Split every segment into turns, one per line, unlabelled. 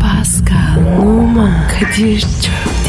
Pascal, Oman, Kadir çok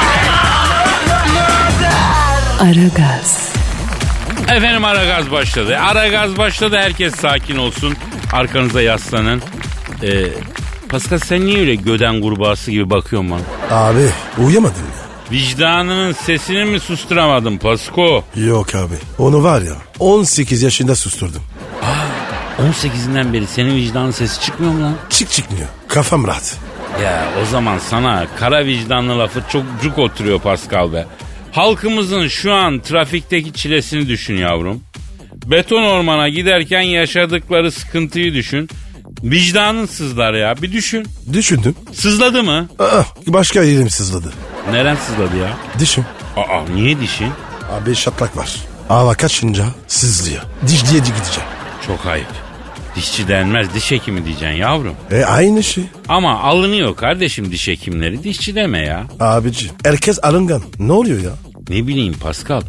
Aragaz,
Efendim ara gaz başladı. Ara gaz başladı herkes sakin olsun. Arkanıza yaslanın. Ee, Pascal sen niye öyle göden kurbağası gibi bakıyorsun bana?
Abi uyuyamadın ya.
Vicdanının sesini mi susturamadın Pasko?
Yok abi. Onu var ya 18 yaşında susturdum.
18'inden beri senin vicdanın sesi çıkmıyor mu lan?
Çık çıkmıyor. Kafam rahat.
Ya o zaman sana kara vicdanlı lafı çok cuk oturuyor Pascal be. Halkımızın şu an trafikteki çilesini düşün yavrum. Beton ormana giderken yaşadıkları sıkıntıyı düşün. Vicdanın sızlar ya bir düşün.
Düşündüm.
Sızladı mı?
Aa, başka yerim sızladı.
Neren sızladı ya?
Dişim.
Aa niye dişin?
Abi şatlak var. Hava kaçınca sızlıyor. Diş diye gideceğim.
Çok ayıp. Dişçi denmez diş hekimi diyeceksin yavrum.
E aynı şey.
Ama alınıyor kardeşim diş hekimleri dişçi deme ya.
Abici. Herkes alıngan. Ne oluyor ya?
Ne bileyim Pascal.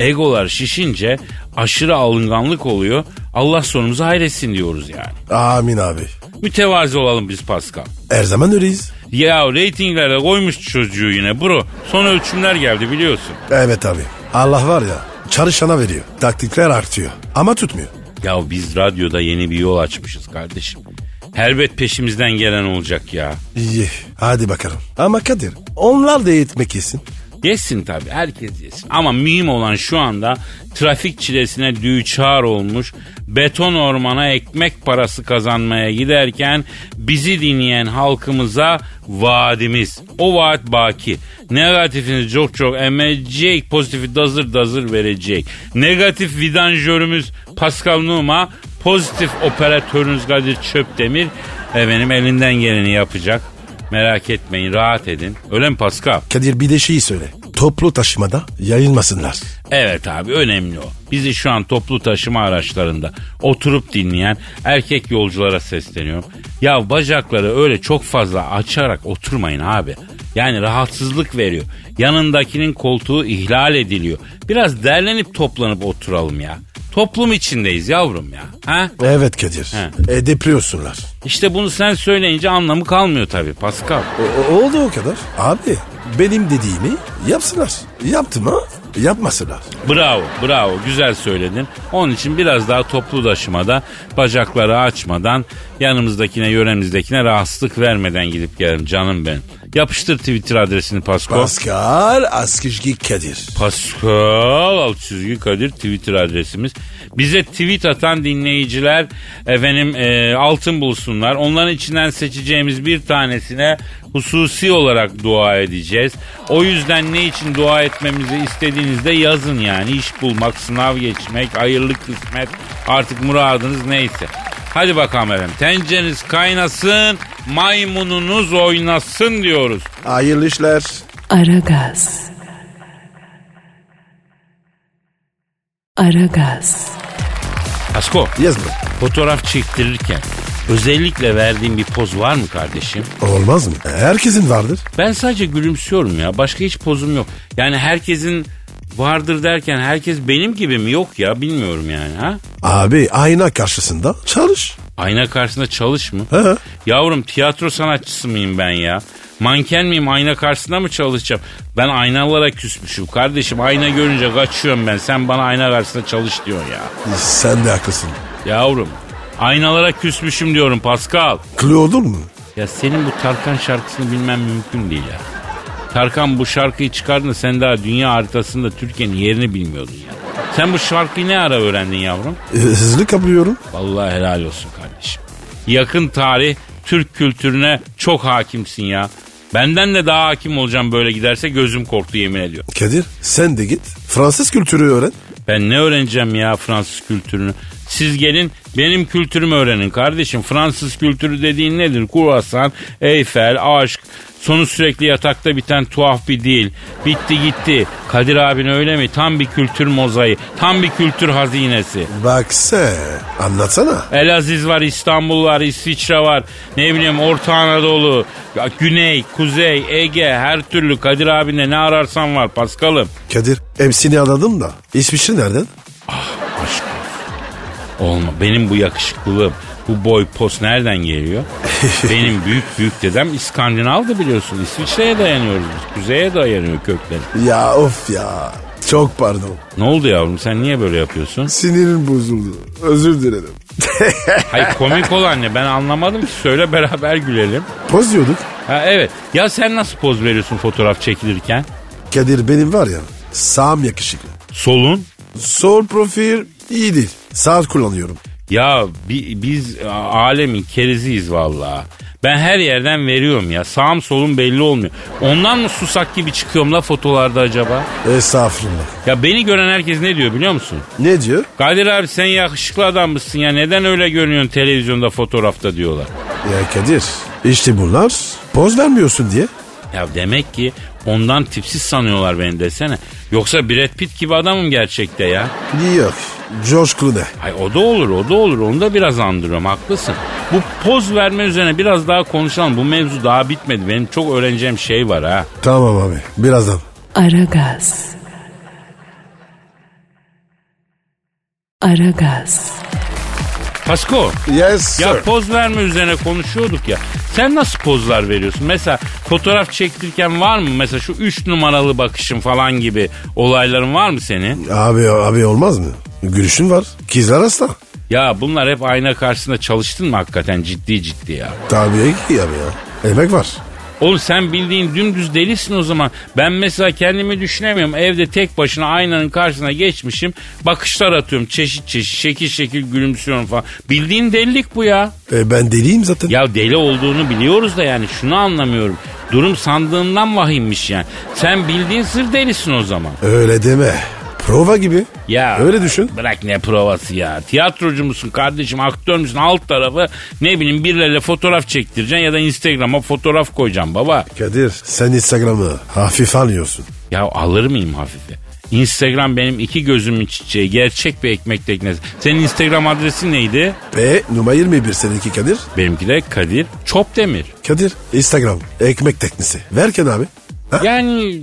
Egolar şişince aşırı alınganlık oluyor. Allah sonumuzu hayretsin diyoruz yani.
Amin abi.
Mütevazi olalım biz Pascal.
Her zaman öyleyiz.
Ya reytinglere koymuş çocuğu yine bro. Son ölçümler geldi biliyorsun.
Evet abi. Allah var ya çalışana veriyor. Taktikler artıyor. Ama tutmuyor.
Ya biz radyoda yeni bir yol açmışız kardeşim. Elbet peşimizden gelen olacak ya.
İyi. Hadi bakalım. Ama Kadir onlar da eğitmek yesin.
Yesin tabii herkes yesin. Ama mühim olan şu anda trafik çilesine düçar olmuş beton ormana ekmek parası kazanmaya giderken bizi dinleyen halkımıza vaadimiz. O vaat baki. Negatifini çok çok emecek, pozitifi dazır dazır verecek. Negatif vidanjörümüz Pascal Numa, pozitif operatörünüz Kadir Çöpdemir efendim elinden geleni yapacak. Merak etmeyin, rahat edin. Öyle mi Pascal?
Kadir bir de şeyi söyle. Toplu taşımada yayılmasınlar.
Evet abi önemli o. Bizi şu an toplu taşıma araçlarında oturup dinleyen erkek yolculara sesleniyorum. Ya bacakları öyle çok fazla açarak oturmayın abi. Yani rahatsızlık veriyor. Yanındakinin koltuğu ihlal ediliyor. Biraz derlenip toplanıp oturalım ya. Toplum içindeyiz yavrum ya. Ha?
Evet Kadir.
He.
E, depriyorsunlar.
İşte bunu sen söyleyince anlamı kalmıyor tabii Pascal.
O- E, o- oldu o kadar. Abi benim dediğimi yapsınlar. Yaptım ha? Yapmasınlar.
Bravo, bravo. Güzel söyledin. Onun için biraz daha toplu taşımada bacakları açmadan yanımızdakine, yöremizdekine rahatsızlık vermeden gidip gelelim canım benim. Yapıştır Twitter adresini Pasko.
Pascal Askışki Kadir.
Pascal alt çizgi Kadir Twitter adresimiz. Bize tweet atan dinleyiciler efendim e, altın bulsunlar. Onların içinden seçeceğimiz bir tanesine hususi olarak dua edeceğiz. O yüzden ne için dua etmemizi istediğinizde yazın yani. İş bulmak, sınav geçmek, hayırlı kısmet artık muradınız neyse. Hadi bakalım efendim. Tencereniz kaynasın, maymununuz oynasın diyoruz.
Hayırlı işler.
Aragaz. Aragaz,
Asko.
Yes bro.
Fotoğraf çektirirken özellikle verdiğin bir poz var mı kardeşim?
Olmaz mı? E, Herkesin vardır.
Ben sadece gülümsüyorum ya. Başka hiç pozum yok. Yani herkesin vardır derken herkes benim gibi mi? Yok ya bilmiyorum yani ha.
Abi ayna karşısında çalış.
Ayna karşısında çalış mı?
He.
Yavrum tiyatro sanatçısı mıyım ben ya? Manken miyim ayna karşısında mı çalışacağım? Ben aynalara küsmüşüm kardeşim. Ayna görünce kaçıyorum ben. Sen bana ayna karşısında çalış diyorsun ya.
Sen de haklısın.
Yavrum aynalara küsmüşüm diyorum Pascal.
Klı olur mu?
Ya senin bu Tarkan şarkısını bilmem mümkün değil ya. Tarkan bu şarkıyı çıkardığında sen daha dünya haritasında Türkiye'nin yerini bilmiyordun ya. Sen bu şarkıyı ne ara öğrendin yavrum?
E, Hızlı kapıyorum.
Vallahi helal olsun kardeşim. Yakın tarih Türk kültürüne çok hakimsin ya. Benden de daha hakim olacağım böyle giderse gözüm korktu yemin ediyorum.
Kadir sen de git. Fransız kültürü öğren.
Ben ne öğreneceğim ya Fransız kültürünü? Siz gelin benim kültürümü öğrenin kardeşim. Fransız kültürü dediğin nedir? Kruvasan, Eyfel, aşk, sonu sürekli yatakta biten tuhaf bir dil. Bitti gitti. Kadir abin öyle mi? Tam bir kültür mozaiği. Tam bir kültür hazinesi.
Bak sen anlatsana.
Elaziz var, İstanbul var, İsviçre var. Ne bileyim Orta Anadolu, ya Güney, Kuzey, Ege her türlü Kadir abinde ne ararsan var Paskal'ım.
Kadir hepsini anladım da İsviçre nereden?
Aşk olsun. Olma. Benim bu yakışıklılığım, bu boy pos nereden geliyor? Benim büyük büyük dedem İskandinav'dı biliyorsun. İsviçre'ye dayanıyoruz biz. Kuzeye dayanıyor kökleri.
Ya of ya çok pardon
Ne oldu yavrum sen niye böyle yapıyorsun?
sinirim bozuldu özür dilerim.
Hayır komik olan ne ben anlamadım ki söyle beraber gülelim.
Poz diyorduk.
Ha evet ya sen nasıl poz veriyorsun fotoğraf çekilirken?
Kadir benim var ya sağım yakışıklı.
Solun.
Sol profil iyi değil. Sağ kullanıyorum.
Ya bi- biz a- alemin keriziyiz vallahi. Ben her yerden veriyorum ya. Sağım solum belli olmuyor. Ondan mı susak gibi çıkıyorum la fotolarda acaba?
Estağfurullah.
Ya beni gören herkes ne diyor biliyor musun?
Ne diyor?
Kadir abi sen yakışıklı adam mısın ya neden öyle görünüyorsun televizyonda fotoğrafta diyorlar.
Ya Kadir işte bunlar poz vermiyorsun diye.
Ya demek ki ondan tipsiz sanıyorlar beni desene. Yoksa Brad Pitt gibi adamım gerçekte ya.
Yok. George Clooney.
Ay o da olur, o da olur. Onu da biraz andırıyorum, haklısın. Bu poz verme üzerine biraz daha konuşalım. Bu mevzu daha bitmedi. Benim çok öğreneceğim şey var ha.
Tamam abi birazdan.
Aragaz. Aragaz.
Pasko,
Yes sir.
ya poz verme üzerine konuşuyorduk ya. Sen nasıl pozlar veriyorsun? Mesela fotoğraf çektirirken var mı? Mesela şu üç numaralı bakışın falan gibi olayların var mı senin?
Abi abi olmaz mı? Gülüşün var. Kızlar asla.
Ya bunlar hep ayna karşısında çalıştın mı hakikaten ciddi ciddi ya?
Tabii ki abi ya. Emek var.
Oğlum sen bildiğin dümdüz delisin o zaman. Ben mesela kendimi düşünemiyorum. Evde tek başına aynanın karşısına geçmişim. Bakışlar atıyorum çeşit çeşit şekil şekil gülümsüyorum falan. Bildiğin delilik bu ya.
E, ben deliyim zaten.
Ya deli olduğunu biliyoruz da yani şunu anlamıyorum. Durum sandığından vahimmiş yani. Sen bildiğin sır delisin o zaman.
Öyle deme. Prova gibi.
Ya
Öyle düşün.
Bırak ne provası ya. Tiyatrocu musun kardeşim, aktör müsün? Alt tarafı ne bileyim birileriyle fotoğraf çektireceksin ya da Instagram'a fotoğraf koyacaksın baba.
Kadir sen Instagram'ı hafif alıyorsun.
Ya alır mıyım hafife? Instagram benim iki gözümün çiçeği. Gerçek bir ekmek teknesi. Senin Instagram adresin neydi?
Ve numara 21 seninki Kadir.
Benimki de Kadir Çopdemir.
Kadir Instagram ekmek teknesi. Verken abi. Ha?
Yani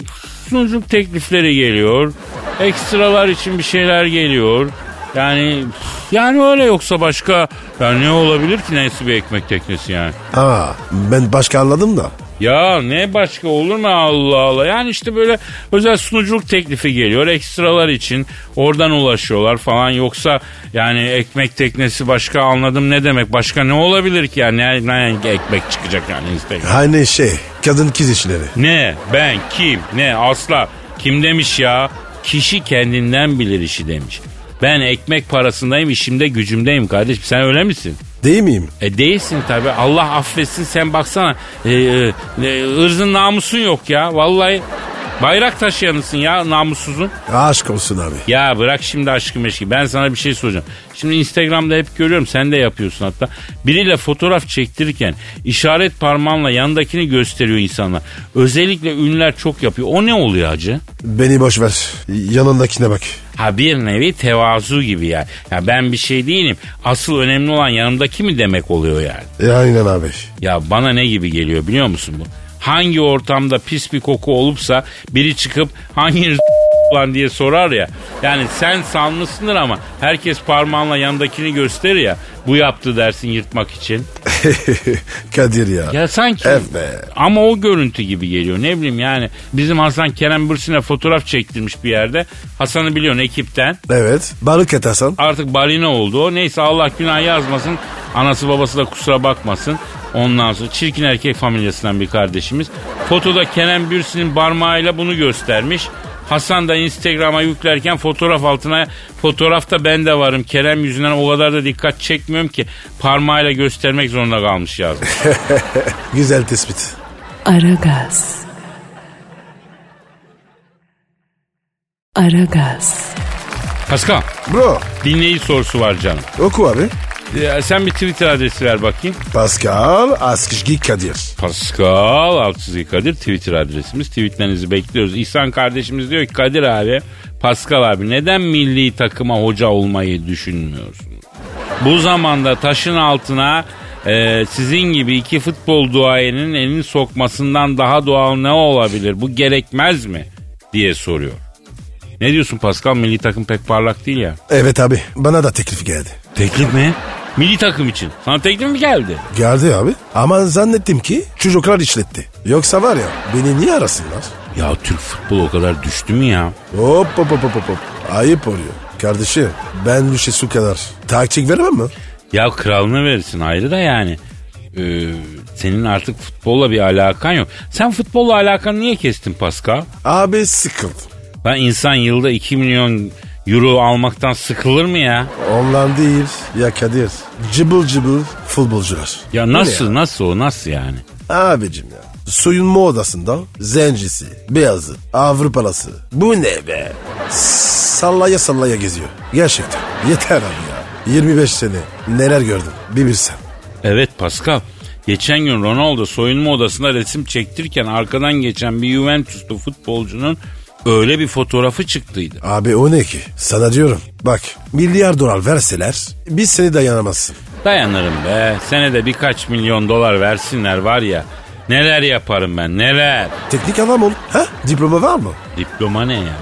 sunuculuk teklifleri geliyor. Ekstralar için bir şeyler geliyor. Yani yani öyle yoksa başka ya ne olabilir ki neyse bir ekmek teknesi yani.
Aa, ben başka anladım da.
Ya ne başka olur mu Allah Allah? Yani işte böyle özel sunuculuk teklifi geliyor ekstralar için. Oradan ulaşıyorlar falan. Yoksa yani ekmek teknesi başka anladım ne demek? Başka ne olabilir ki yani? Ne, ne ekmek çıkacak yani Instagram?
Hani şey kadın kız işleri.
Ne? Ben? Kim? Ne? Asla. Kim demiş ya? Kişi kendinden bilir işi demiş. Ben ekmek parasındayım, işimde gücümdeyim kardeşim. Sen öyle misin?
Değil miyim?
E değilsin tabi. Allah affetsin sen baksana. E, e, e, ırzın namusun yok ya. Vallahi bayrak taşıyanısın ya namussuzun.
Aşk olsun abi.
Ya bırak şimdi aşkı meşki. Ben sana bir şey soracağım. Şimdi Instagram'da hep görüyorum. Sen de yapıyorsun hatta. Biriyle fotoğraf çektirirken işaret parmağınla yandakini gösteriyor insanlar. Özellikle ünlüler çok yapıyor. O ne oluyor acı?
Beni boş ver. Yanındakine bak.
Ha bir nevi tevazu gibi yani. Ya ben bir şey değilim. Asıl önemli olan yanımdaki mi demek oluyor yani?
E, aynen abi.
Ya bana ne gibi geliyor biliyor musun bu? Hangi ortamda pis bir koku olupsa biri çıkıp hangi lan diye sorar ya. Yani sen sanlısındır ama herkes parmağınla yandakini gösterir ya. Bu yaptı dersin yırtmak için.
Kadir ya.
Ya sanki
Evet.
ama o görüntü gibi geliyor. Ne bileyim yani bizim Hasan Kerem Bürsin'e fotoğraf çektirmiş bir yerde. Hasan'ı biliyorsun ekipten.
Evet. Balık atarsan.
Artık balina oldu o. Neyse Allah günah yazmasın. Anası babası da kusura bakmasın. Ondan sonra çirkin erkek familyasından bir kardeşimiz. Fotoda Kenan Bürsin'in parmağıyla bunu göstermiş. Hasan da Instagram'a yüklerken fotoğraf altına fotoğrafta ben de varım. Kerem yüzünden o kadar da dikkat çekmiyorum ki parmağıyla göstermek zorunda kalmış yazmış.
Güzel tespit.
Aragaz. Aragaz.
Pascal
Bro
dinleyici sorusu var canım.
oku abi.
Ee, sen bir Twitter adresi ver bakayım.
Pascal Askışgi Kadir.
Pascal Altçizgi Kadir Twitter adresimiz. Tweetlerinizi bekliyoruz. İhsan kardeşimiz diyor ki Kadir abi, Pascal abi neden milli takıma hoca olmayı düşünmüyorsunuz? Bu zamanda taşın altına e, sizin gibi iki futbol duayenin elini sokmasından daha doğal ne olabilir? Bu gerekmez mi? diye soruyor. Ne diyorsun Pascal? Milli takım pek parlak değil ya.
Evet abi bana da teklif geldi.
Teklif mi? Milli takım için. Sana teklif mi geldi?
Geldi abi ama zannettim ki çocuklar işletti. Yoksa var ya beni niye arasınlar?
Ya Türk futbolu o kadar düştü mü ya?
Hop hop hop hop hop. Ayıp oluyor. Kardeşim ben Lüşe su kadar taktik veremem mi?
Ya kralını verirsin ayrı da yani. Ee, senin artık futbolla bir alakan yok. Sen futbolla alakanı niye kestin Pascal?
Abi sıkıldı.
Ben insan yılda 2 milyon euro almaktan sıkılır mı ya?
Ondan değil ya Kadir. Cıbıl cıbıl futbolcular.
Ya nasıl nasıl o nasıl yani?
Abicim ya. Soyunma odasında zencisi, beyazı, Avrupalısı. Bu ne be? Sallaya sallaya geziyor. Gerçekten. Yeter abi ya. 25 sene neler gördüm bir bilsen.
Evet Pascal. Geçen gün Ronaldo soyunma odasında resim çektirirken arkadan geçen bir Juventuslu futbolcunun öyle bir fotoğrafı çıktıydı.
Abi o ne ki? Sana diyorum. Bak milyar dolar verseler biz seni dayanamazsın.
Dayanırım be. Senede birkaç milyon dolar versinler var ya. Neler yaparım ben neler.
Teknik adam ol. Ha? Diploma var mı?
Diploma ne ya?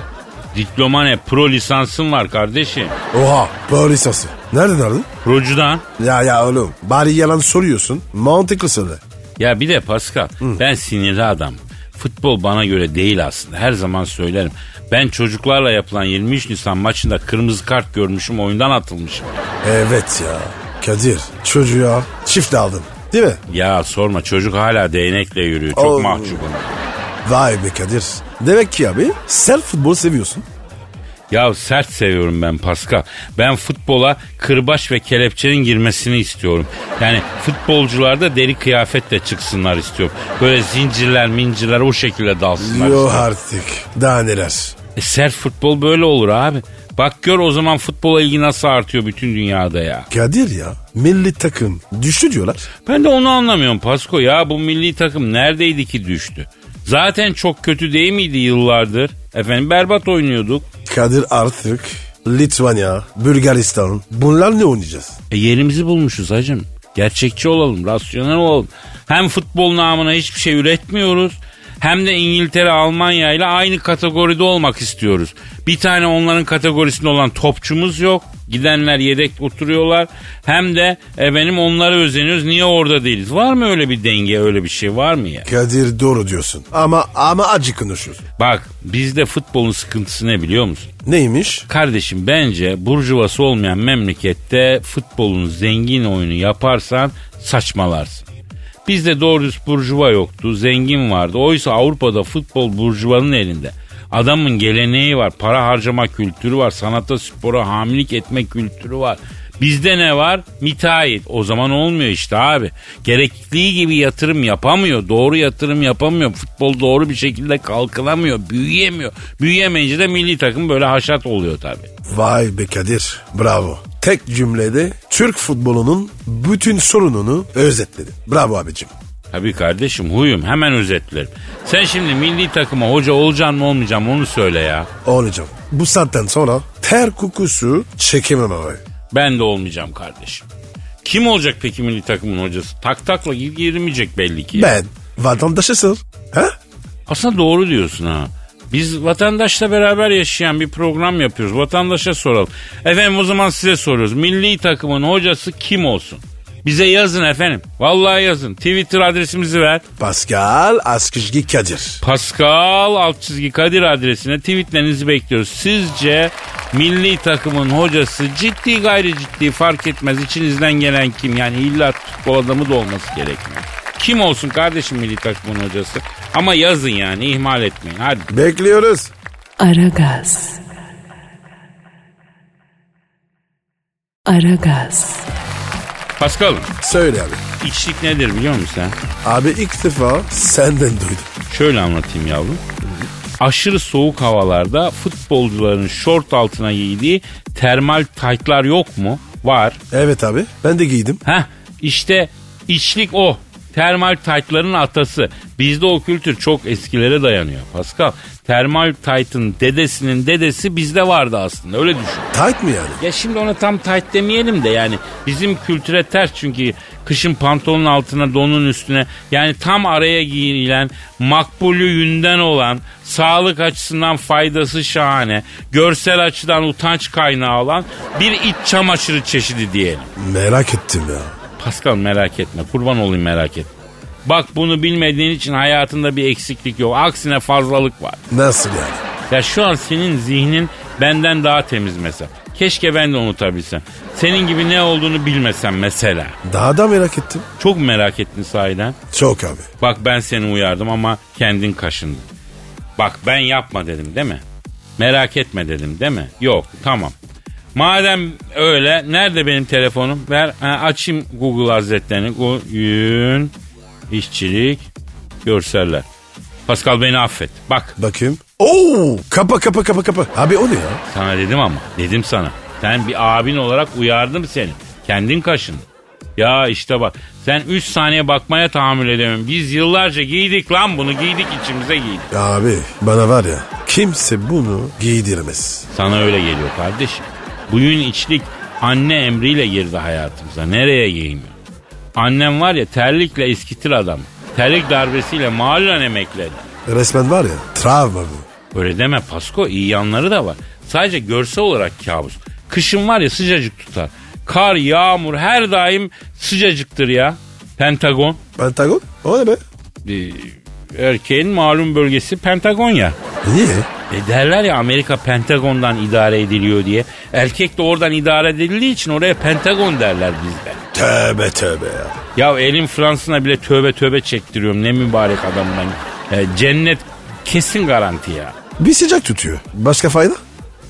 Diploma ne? Pro lisansın var kardeşim.
Oha. Polisası. Nereden aldın?
Procudan.
Ya ya oğlum. Bari yalan soruyorsun. Mantıklı söyle.
Ya bir de Pascal ben sinirli adam. Futbol bana göre değil aslında. Her zaman söylerim. Ben çocuklarla yapılan 23 Nisan maçında kırmızı kart görmüşüm oyundan atılmışım.
Evet ya. Kadir çocuğa çift aldım. Değil mi?
Ya sorma çocuk hala değnekle yürüyor. Çok
Oo.
mahcubum.
Vay be Kadir. Demek ki abi sen futbolu seviyorsun.
Ya sert seviyorum ben Pascal. Ben futbola kırbaç ve kelepçenin girmesini istiyorum. Yani futbolcular da deri kıyafetle çıksınlar istiyorum. Böyle zincirler mincirler o şekilde dalsınlar.
Yo
istiyorum.
artık. Daha neler.
E sert futbol böyle olur abi. Bak gör o zaman futbola ilgi nasıl artıyor bütün dünyada ya.
Kadir ya milli takım düştü diyorlar.
Ben de onu anlamıyorum Pasko ya bu milli takım neredeydi ki düştü? Zaten çok kötü değil miydi yıllardır? Efendim berbat oynuyorduk.
Kadir artık Litvanya, Bulgaristan bunlar ne oynayacağız?
E yerimizi bulmuşuz hacım. Gerçekçi olalım, rasyonel olalım. Hem futbol namına hiçbir şey üretmiyoruz. Hem de İngiltere, Almanya ile aynı kategoride olmak istiyoruz. Bir tane onların kategorisinde olan topçumuz yok. Gidenler yedek oturuyorlar. Hem de e, benim onlara özeniyoruz. Niye orada değiliz? Var mı öyle bir denge, öyle bir şey var mı ya?
Kadir doğru diyorsun ama ama acı konuşuyorsun.
Bak bizde futbolun sıkıntısı ne biliyor musun?
Neymiş?
Kardeşim bence burjuvası olmayan memlekette futbolun zengin oyunu yaparsan saçmalarsın. Bizde doğru dürüst burjuva yoktu, zengin vardı. Oysa Avrupa'da futbol burjuvanın elinde. Adamın geleneği var, para harcama kültürü var, sanata, spora hamilik etme kültürü var. Bizde ne var? Müteahhit. O zaman olmuyor işte abi. Gerektiği gibi yatırım yapamıyor. Doğru yatırım yapamıyor. Futbol doğru bir şekilde kalkınamıyor. Büyüyemiyor. Büyüyemeyince de milli takım böyle haşat oluyor tabii.
Vay be Kadir bravo. Tek cümlede Türk futbolunun bütün sorununu özetledi. Bravo abicim.
Tabii kardeşim huyum hemen özetlerim. Sen şimdi milli takıma hoca olacaksın mı olmayacaksın mı onu söyle ya.
Olacağım. Bu saatten sonra ter kokusu çekemem abi.
Ben de olmayacağım kardeşim. Kim olacak peki milli takımın hocası? Tak takla gir- girmeyecek belli ki.
Ben vatandaşısın. Ha?
Aslında doğru diyorsun ha. Biz vatandaşla beraber yaşayan bir program yapıyoruz. Vatandaşa soralım. Efendim o zaman size soruyoruz. Milli takımın hocası kim olsun? Bize yazın efendim. Vallahi yazın. Twitter adresimizi ver.
Pascal Askışgi Kadir.
Pascal alt çizgi Kadir adresine tweetlerinizi bekliyoruz. Sizce milli takımın hocası ciddi gayri ciddi fark etmez. İçinizden gelen kim? Yani illa futbol adamı da olması gerekmiyor. Kim olsun kardeşim milli takımın hocası? Ama yazın yani ihmal etmeyin. Hadi.
Bekliyoruz.
Aragaz. Aragaz.
Pascal'ım
Söyle abi.
içlik nedir biliyor musun sen?
Abi ilk defa senden duydum.
Şöyle anlatayım yavrum. aşırı soğuk havalarda futbolcuların şort altına giydiği termal taytlar yok mu? Var.
Evet abi ben de giydim.
Heh işte içlik o. Termal taytların atası. Bizde o kültür çok eskilere dayanıyor Pascal. Termal taytın dedesinin dedesi bizde vardı aslında öyle düşün.
Tight mı yani?
Ya şimdi ona tam tayt demeyelim de yani bizim kültüre ters çünkü kışın pantolonun altına donun üstüne yani tam araya giyilen makbulü yünden olan sağlık açısından faydası şahane görsel açıdan utanç kaynağı olan bir iç çamaşırı çeşidi diyelim.
Merak ettim ya.
Pascal merak etme. Kurban olayım merak etme. Bak bunu bilmediğin için hayatında bir eksiklik yok. Aksine fazlalık var.
Nasıl yani?
Ya şu an senin zihnin benden daha temiz mesela. Keşke ben de unutabilsem. Senin gibi ne olduğunu bilmesem mesela.
Daha da merak ettim.
Çok merak ettin sahiden.
Çok abi.
Bak ben seni uyardım ama kendin kaşındın. Bak ben yapma dedim değil mi? Merak etme dedim değil mi? Yok tamam. Madem öyle nerede benim telefonum? Ver ha, açayım Google Hazretlerini. Oyun, işçilik, görseller. Pascal beni affet. Bak
Bakayım. Oo, kapa kapa kapa kapa. Abi o ne ya?
sana dedim ama dedim sana. Sen bir abin olarak uyardım seni. Kendin kaşındın. Ya işte bak sen 3 saniye bakmaya tahammül edemiyorum. Biz yıllarca giydik lan bunu giydik içimize giydik.
Abi bana var ya kimse bunu giydiremez.
Sana öyle geliyor kardeşim. Bugün içlik anne emriyle girdi hayatımıza. Nereye giymiyor? Annem var ya terlikle eskitir adam. Terlik darbesiyle mahallen emekledi.
Resmen var ya travma bu.
Öyle deme Pasko iyi yanları da var. Sadece görsel olarak kabus. Kışın var ya sıcacık tutar. Kar, yağmur her daim sıcacıktır ya. Pentagon.
Pentagon o ne be?
Ee, erkeğin malum bölgesi Pentagon ya.
Niye?
E derler ya Amerika Pentagon'dan idare ediliyor diye. Erkek de oradan idare edildiği için oraya Pentagon derler bizde.
Tövbe tövbe ya.
Ya elin Fransına bile tövbe tövbe çektiriyorum ne mübarek adamım ben. E, cennet kesin garanti ya.
Bir sıcak tutuyor. Başka fayda?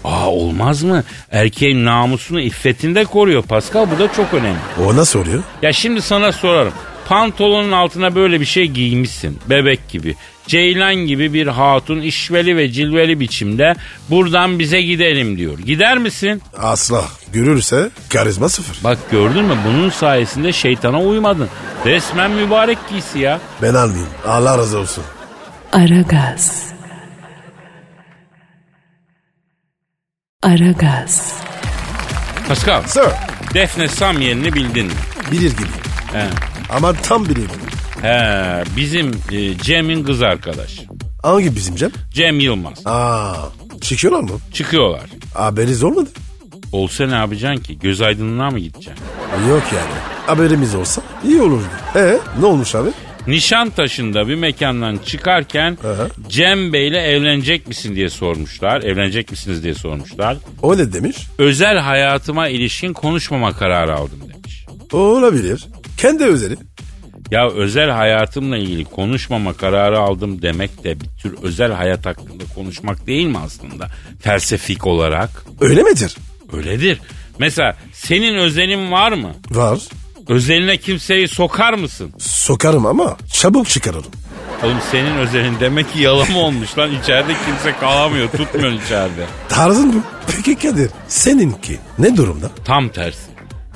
Aa olmaz mını Erkeğin namusunu iffetini de koruyor Pascal bu da çok önemli.
O nasıl oluyor?
Ya şimdi sana sorarım. Pantolonun altına böyle bir şey giymişsin. Bebek gibi. Ceylan gibi bir hatun işveli ve cilveli biçimde buradan bize gidelim diyor. Gider misin?
Asla. Görürse karizma sıfır.
Bak gördün mü bunun sayesinde şeytana uymadın. Resmen mübarek giysi ya.
Ben almayayım. Allah razı olsun.
Aragaz. Aragaz.
Pascal
Sir.
Defne Samyen'i bildin mi?
Bilir gibi.
He.
Ama tam biliyorum.
He, bizim e, Cem'in kız arkadaş.
Hangi bizim Cem?
Cem Yılmaz.
Aa, çıkıyorlar mı?
Çıkıyorlar.
Haberiniz olmadı.
Olsa ne yapacaksın ki? Göz aydınlığına mı gideceksin?
Yok yani. Haberimiz olsa iyi olurdu. E ne olmuş abi?
Nişantaşı'nda bir mekandan çıkarken
Aha.
Cem Bey'le evlenecek misin diye sormuşlar. Evlenecek misiniz diye sormuşlar.
O ne demiş?
Özel hayatıma ilişkin konuşmama kararı aldım demiş.
O olabilir. Kendi özeli.
Ya özel hayatımla ilgili konuşmama kararı aldım demek de bir tür özel hayat hakkında konuşmak değil mi aslında? Felsefik olarak
Öyle midir?
öyledir. Mesela senin özelin var mı?
Var.
Özeline kimseyi sokar mısın?
Sokarım ama çabuk çıkarırım.
Oğlum senin özelin demek ki yalama olmuş lan. İçeride kimse kalamıyor. Tutmuyor içeride.
Tarzın bu. Peki Kadir seninki ne durumda?
Tam tersi.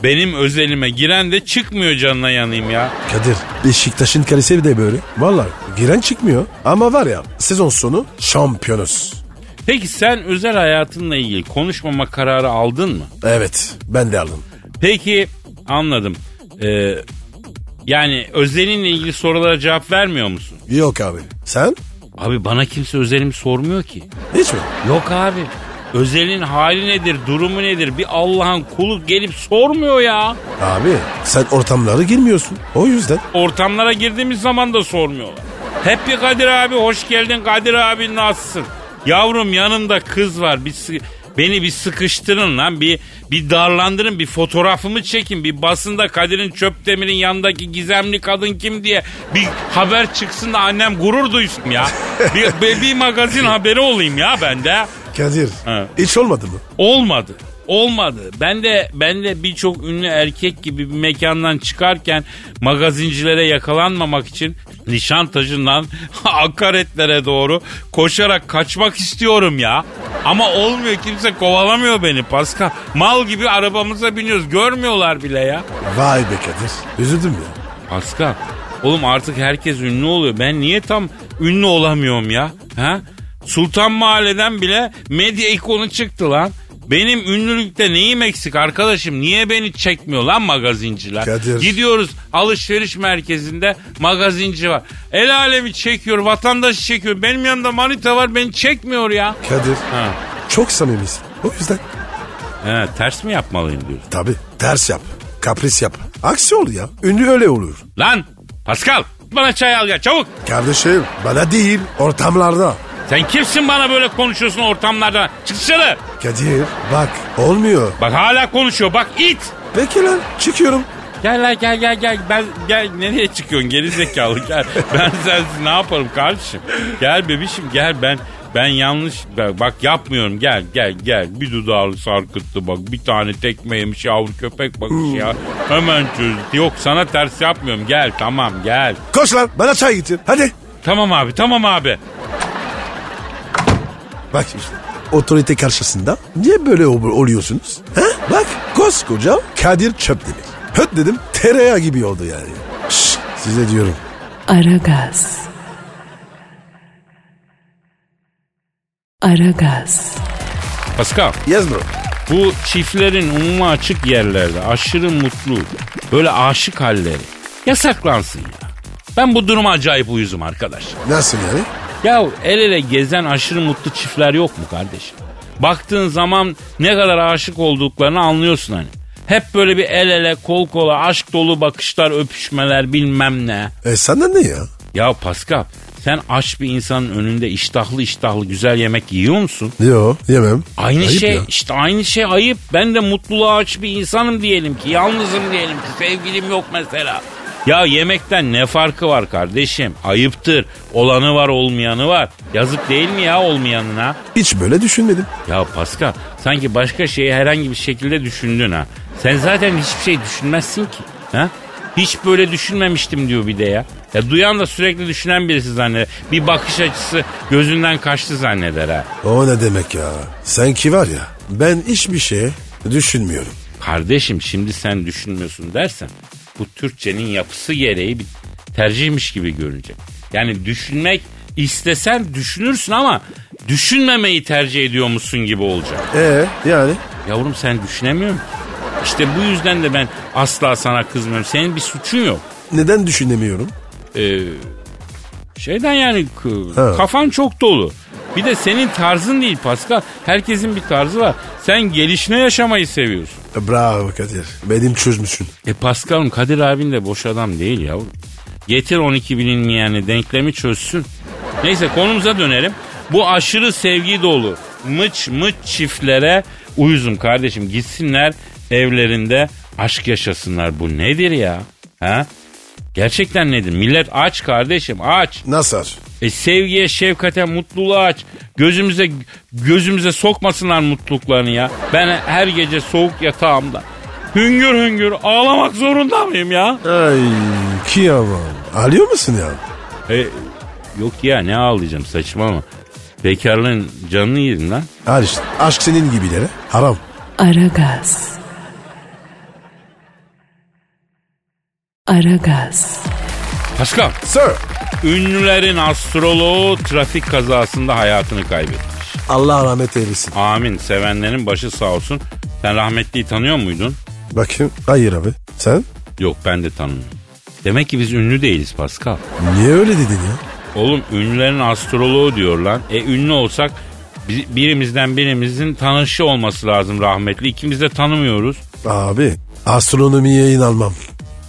Benim özelime giren de çıkmıyor canına yanayım ya.
Kadir Beşiktaş'ın kalesi bir de böyle. Vallahi giren çıkmıyor ama var ya sezon sonu şampiyonuz.
Peki sen özel hayatınla ilgili konuşmama kararı aldın mı?
Evet ben de aldım.
Peki anladım. Ee, yani özelinle ilgili sorulara cevap vermiyor musun?
Yok abi. Sen?
Abi bana kimse özelimi sormuyor ki.
Hiç mi?
Yok abi. Özelin hali nedir, durumu nedir? Bir Allah'ın kulu gelip sormuyor ya.
Abi sen ortamlara girmiyorsun. O yüzden.
Ortamlara girdiğimiz zaman da sormuyorlar. Hep bir Kadir abi hoş geldin Kadir abi nasılsın? Yavrum yanımda kız var. Bir sı- beni bir sıkıştırın lan. Bir bir darlandırın. Bir fotoğrafımı çekin. Bir basında Kadir'in Çöptemir'in yanındaki gizemli kadın kim diye bir haber çıksın da annem gurur duysun ya. bir, bir, bir magazin haberi olayım ya bende.
Kadir
Ha.
hiç olmadı mı?
Olmadı. Olmadı. Ben de ben de birçok ünlü erkek gibi bir mekandan çıkarken magazincilere yakalanmamak için Nişantaşı'ndan akaretlere doğru koşarak kaçmak istiyorum ya. Ama olmuyor kimse kovalamıyor beni Pascal. Mal gibi arabamıza biniyoruz görmüyorlar bile ya.
Vay be Kadir. Üzüldüm ya.
Pascal. Oğlum artık herkes ünlü oluyor. Ben niye tam ünlü olamıyorum ya? Ha? Sultan Mahalle'den bile medya ikonu çıktı lan. Benim ünlülükte neyim eksik arkadaşım? Niye beni çekmiyor lan magazinciler?
Kadir.
Gidiyoruz alışveriş merkezinde magazinci var. El alemi çekiyor, vatandaşı çekiyor. Benim yanımda manita var beni çekmiyor ya.
Kadir.
Ha,
Çok samimisin. O yüzden.
he, ters mi yapmalıyım diyorsun?
Tabi. Ters yap. Kapris yap. Aksi ol ya. Ünlü öyle olur.
Lan Pascal bana çay al ya çabuk.
Kardeşim bana değil ortamlarda.
Sen kimsin bana böyle konuşuyorsun ortamlarda? Çık dışarı.
Kadir bak olmuyor.
Bak hala konuşuyor bak it.
Peki lan çıkıyorum.
Gel lan gel gel gel. Ben gel nereye çıkıyorsun geri zekalı gel. ben sensiz ne yaparım kardeşim? Gel bebişim gel ben ben yanlış bak, bak yapmıyorum gel gel gel bir dudağını sarkıttı bak bir tane tekme yemiş yavru köpek bakışı ya hemen çözdü yok sana ters yapmıyorum gel tamam gel
Koş lan bana çay getir hadi.
tamam abi tamam abi
Bak işte otorite karşısında niye böyle ol- oluyorsunuz? He? Bak koskoca Kadir Çöpdemir. Höt dedim tereyağı gibi oldu yani. Şşş, size diyorum.
Aragaz. Aragaz.
Pascal
Yes bro.
Bu çiftlerin umuma açık yerlerde aşırı mutlu, böyle aşık halleri yasaklansın ya. Ben bu duruma acayip uyuzum arkadaş.
Nasıl yani?
Ya el ele gezen aşırı mutlu çiftler yok mu kardeşim? Baktığın zaman ne kadar aşık olduklarını anlıyorsun hani. Hep böyle bir el ele kol kola aşk dolu bakışlar öpüşmeler bilmem ne.
E senden ne ya?
Ya Pascal sen aç bir insanın önünde iştahlı iştahlı güzel yemek yiyor musun?
Yo yemem.
Aynı
Ayıp
şey
ya.
işte aynı şey ayıp. Ben de mutluluğa aç bir insanım diyelim ki. Yalnızım diyelim ki. Sevgilim yok mesela. Ya yemekten ne farkı var kardeşim? Ayıptır. Olanı var olmayanı var. Yazık değil mi ya olmayanına?
Hiç böyle düşünmedim.
Ya Pascal sanki başka şeyi herhangi bir şekilde düşündün ha. Sen zaten hiçbir şey düşünmezsin ki. Ha? Hiç böyle düşünmemiştim diyor bir de ya. Ya duyan da sürekli düşünen birisi zanneder. Bir bakış açısı gözünden kaçtı zanneder ha.
O ne demek ya? Sen ki var ya ben hiçbir şey düşünmüyorum.
Kardeşim şimdi sen düşünmüyorsun dersen bu Türkçenin yapısı gereği bir tercihmiş gibi görünecek. Yani düşünmek istesen düşünürsün ama düşünmemeyi tercih ediyor musun gibi olacak.
E yani?
Yavrum sen düşünemiyor musun? İşte bu yüzden de ben asla sana kızmıyorum. Senin bir suçun yok.
Neden düşünemiyorum?
Ee, şeyden yani k-
Ha.
kafan çok dolu. Bir de senin tarzın değil Pascal. Herkesin bir tarzı var. Sen gelişine yaşamayı seviyorsun.
E, Bravo Kadir. Benim çözmüşsün.
E Pascal'ım Kadir abin de boş adam değil yavrum. Getir 12 bilinmeyeni denklemi çözsün. Neyse konumuza dönelim. Bu aşırı sevgi dolu mıç mıç çiftlere uyuzum kardeşim. Gitsinler evlerinde aşk yaşasınlar. Bu nedir ya? Ha? Gerçekten nedir? Millet aç kardeşim aç.
Nasar.
E sevgiye, şefkate, mutluluğa aç. Gözümüze gözümüze sokmasınlar mutluluklarını ya. Ben her gece soğuk yatağımda hüngür hüngür ağlamak zorunda mıyım ya?
Ay kıyamam. Alıyor musun ya?
E, yok ya ne ağlayacağım saçmalama. Bekarlığın canını yedin lan.
Al işte. Aşk senin gibilere. Haram.
Aragaz. Aragaz.
Pascal,
Sir.
ünlülerin astroloğu trafik kazasında hayatını kaybetmiş.
Allah rahmet eylesin.
Amin, sevenlerin başı sağ olsun. Sen rahmetliyi tanıyor muydun?
Bakayım. Hayır abi. Sen?
Yok ben de tanımıyorum. Demek ki biz ünlü değiliz Pascal.
Niye öyle dedin ya?
Oğlum ünlülerin astroloğu diyor lan. E ünlü olsak bi- birimizden birimizin tanışı olması lazım rahmetli. İkimiz de tanımıyoruz.
Abi astronomiye inanmam.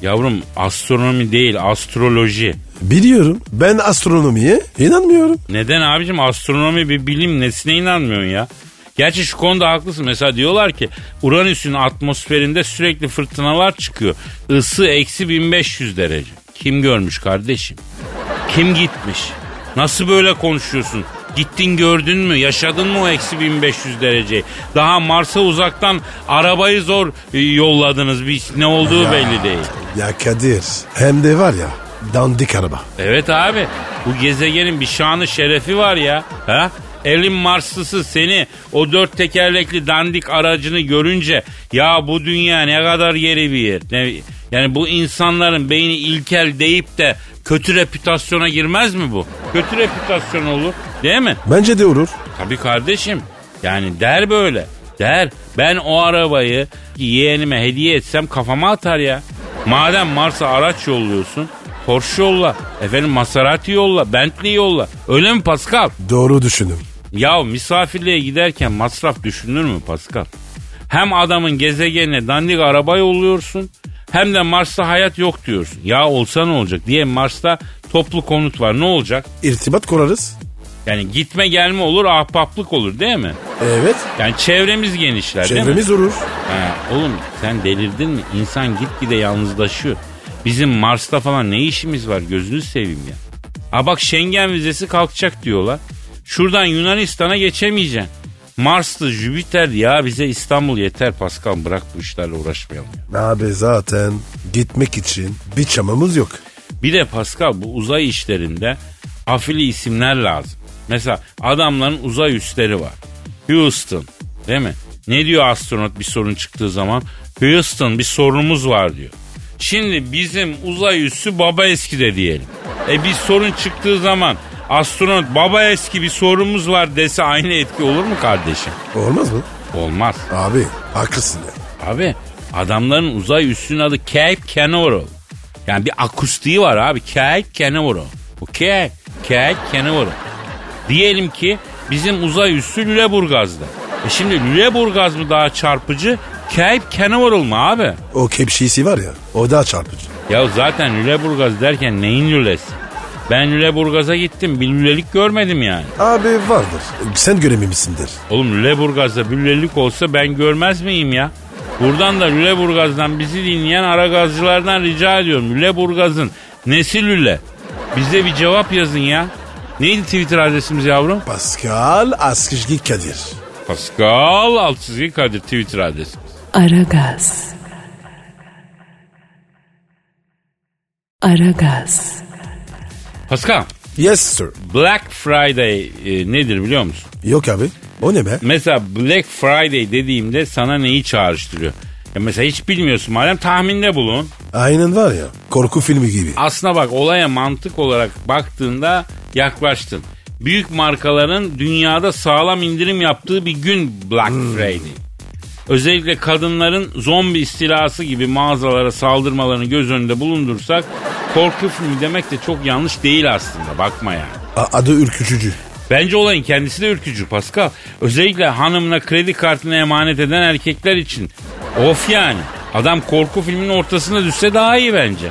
Yavrum astronomi değil astroloji.
Biliyorum. Ben astronomiye inanmıyorum.
Neden abicim astronomi bir bilim nesine inanmıyorsun ya? Gerçi şu konuda haklısın. Mesela diyorlar ki Uranüs'ün atmosferinde sürekli fırtınalar çıkıyor. Isı eksi 1500 derece. Kim görmüş kardeşim? Kim gitmiş? Nasıl böyle konuşuyorsun? Gittin gördün mü? Yaşadın mı o eksi 1500 dereceyi? Daha Mars'a uzaktan arabayı zor e, yolladınız. Biz ne olduğu belli değil.
Ya Kadir hem de var ya dandik araba.
Evet abi bu gezegenin bir şanı şerefi var ya. Ha? Elin Marslısı seni o dört tekerlekli dandik aracını görünce ya bu dünya ne kadar geri bir yer. Ne, yani bu insanların beyni ilkel deyip de kötü reputasyona girmez mi bu? Kötü reputasyon olur değil mi?
Bence de olur.
Tabii kardeşim. Yani der böyle. Der. Ben o arabayı yeğenime hediye etsem kafama atar ya. Madem Mars'a araç yolluyorsun. Porsche yolla. Efendim Maserati yolla. Bentley yolla. Öyle mi Pascal?
Doğru düşündüm.
Ya misafirliğe giderken masraf düşünür mü Pascal? Hem adamın gezegenine dandik araba yolluyorsun hem de Mars'ta hayat yok diyorsun. Ya olsa ne olacak? Diye Mars'ta toplu konut var ne olacak?
İrtibat kurarız.
Yani gitme gelme olur ahbaplık olur değil mi?
Evet.
Yani çevremiz genişler değil mi?
Çevremiz olur.
Ha, oğlum sen delirdin mi? İnsan gitgide yalnızlaşıyor. Bizim Mars'ta falan ne işimiz var gözünü seveyim ya. Ha bak Schengen vizesi kalkacak diyorlar. Şuradan Yunanistan'a geçemeyeceksin. Mars'tı Jüpiter ya bize İstanbul yeter Pascal bırak bu işlerle uğraşmayalım. ya.
Abi zaten gitmek için bir çamamız yok.
Bir de Pascal bu uzay işlerinde afili isimler lazım. Mesela adamların uzay üsleri var. Houston değil mi? Ne diyor astronot bir sorun çıktığı zaman? Houston bir sorunumuz var diyor. Şimdi bizim uzay üssü baba eski de diyelim. E bir sorun çıktığı zaman astronot baba eski bir sorunumuz var dese aynı etki olur mu kardeşim?
Olmaz mı?
Olmaz.
Abi haklısın ya.
Abi adamların uzay üssünün adı Cape Canaveral. Yani bir akustiği var abi. Cape Canaveral. Okey. Cape Canaveral. Diyelim ki bizim uzay üssü Lüleburgaz'da. E şimdi Lüleburgaz mı daha çarpıcı? Cape Canaveral mı abi?
O kepşisi var ya o daha çarpıcı.
Ya zaten Lüleburgaz derken neyin lülesi? Ben Lüleburgaz'a gittim. Bir lülelik görmedim yani.
Abi vardır. Sen görememişsindir.
Oğlum Lüleburgaz'da büllelik olsa ben görmez miyim ya? Buradan da Lüleburgaz'dan bizi dinleyen ara gazcılardan rica ediyorum. Lüleburgaz'ın nesi Lüle? Bize bir cevap yazın ya. Neydi Twitter adresimiz yavrum?
Pascal Askışgi Kadir.
Pascal Altçizgi Kadir Twitter adresimiz.
Aragaz. Aragaz.
Pascal,
Yes sir.
Black Friday e, nedir biliyor musun?
Yok abi. O ne be?
Mesela Black Friday dediğimde sana neyi çağrıştırıyor? Ya mesela hiç bilmiyorsun madem tahminde bulun.
Aynen var ya korku filmi gibi.
Aslına bak olaya mantık olarak baktığında yaklaştın. Büyük markaların dünyada sağlam indirim yaptığı bir gün Black Friday. Özellikle kadınların zombi istilası gibi mağazalara saldırmalarını göz önünde bulundursak korku filmi demek de çok yanlış değil aslında bakma yani.
A- adı ürkütücü.
Bence olayın kendisi de ürkücü Pascal. Özellikle hanımına kredi kartını emanet eden erkekler için. Of yani. Adam korku filminin ortasına düşse daha iyi bence.